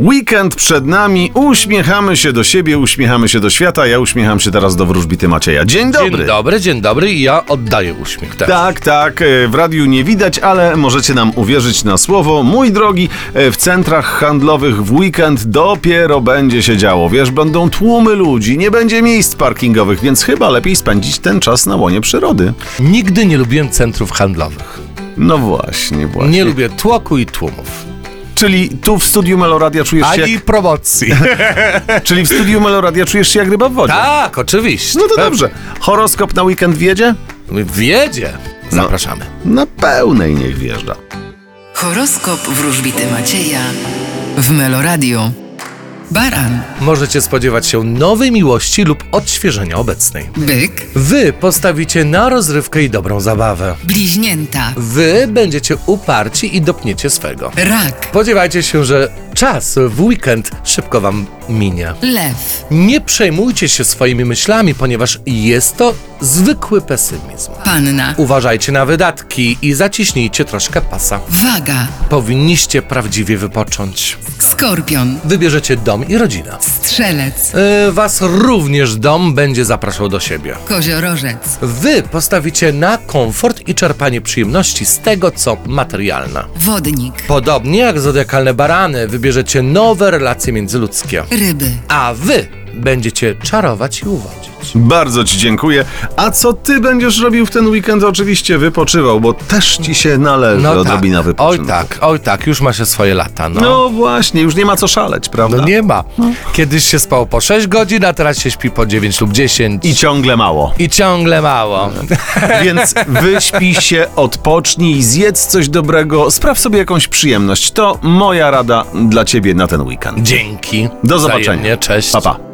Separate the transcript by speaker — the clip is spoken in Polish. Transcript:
Speaker 1: Weekend przed nami, uśmiechamy się do siebie, uśmiechamy się do świata. Ja uśmiecham się teraz do wróżbity Macieja. Dzień dobry!
Speaker 2: Dzień dobry, dzień dobry i ja oddaję uśmiech teraz.
Speaker 1: Tak, tak, e, w radiu nie widać, ale możecie nam uwierzyć na słowo. Mój drogi, e, w centrach handlowych w weekend dopiero będzie się działo. Wiesz, będą tłumy ludzi, nie będzie miejsc parkingowych, więc chyba lepiej spędzić ten czas na łonie przyrody.
Speaker 2: Nigdy nie lubiłem centrów handlowych.
Speaker 1: No właśnie, właśnie.
Speaker 2: Nie lubię tłoku i tłumów.
Speaker 1: Czyli tu w studiu Meloradia czujesz się
Speaker 2: Ani
Speaker 1: jak,
Speaker 2: promocji.
Speaker 1: Czyli w studiu Meloradia czujesz się jak ryba w wodzie.
Speaker 2: tak, oczywiście.
Speaker 1: No to dobrze. Horoskop na weekend wiedzie?
Speaker 2: Wiedzie.
Speaker 1: No.
Speaker 2: Zapraszamy.
Speaker 1: Na pełnej niech wjeżdża.
Speaker 3: Horoskop wróżbity Macieja w Meloradio. Baran,
Speaker 2: Możecie spodziewać się nowej miłości lub odświeżenia obecnej.
Speaker 3: byk,
Speaker 2: Wy postawicie na rozrywkę i dobrą zabawę.
Speaker 3: bliźnięta,
Speaker 2: Wy będziecie uparci i dopniecie swego.
Speaker 3: rak,
Speaker 2: Spodziewajcie się, że czas w weekend szybko wam minie.
Speaker 3: lew,
Speaker 2: Nie przejmujcie się swoimi myślami, ponieważ jest to zwykły pesymizm.
Speaker 3: panna,
Speaker 2: Uważajcie na wydatki i zaciśnijcie troszkę pasa.
Speaker 3: waga,
Speaker 2: Powinniście prawdziwie wypocząć.
Speaker 3: skorpion,
Speaker 2: Wybierzecie dom i rodzinę.
Speaker 3: strzelec,
Speaker 2: Yy, Was również dom będzie zapraszał do siebie.
Speaker 3: koziorożec,
Speaker 2: Wy postawicie na komfort i czerpanie przyjemności z tego, co materialne.
Speaker 3: wodnik,
Speaker 2: Podobnie jak zodiakalne barany, wybierzecie nowe relacje międzyludzkie.
Speaker 3: ryby.
Speaker 2: A wy będziecie czarować i uwodzić.
Speaker 1: Bardzo Ci dziękuję. A co Ty będziesz robił w ten weekend? Oczywiście wypoczywał, bo też Ci się należy odrobina
Speaker 2: No oj
Speaker 1: wypoczynku.
Speaker 2: tak, oj tak, już ma się swoje lata, no.
Speaker 1: No właśnie, już nie ma co szaleć, prawda?
Speaker 2: No nie ma. Kiedyś się spało po 6 godzin, a teraz się śpi po 9 lub 10.
Speaker 1: I
Speaker 2: I, No.
Speaker 1: ciągle mało.
Speaker 2: ciągle mało.
Speaker 1: Więc wyśpij się, odpocznij, zjedz coś dobrego, spraw sobie jakąś przyjemność. To moja rada dla Ciebie na ten weekend.
Speaker 2: Dzięki.
Speaker 1: Do zobaczenia.
Speaker 2: Wzajemnie, Cześć.
Speaker 1: Pa, pa.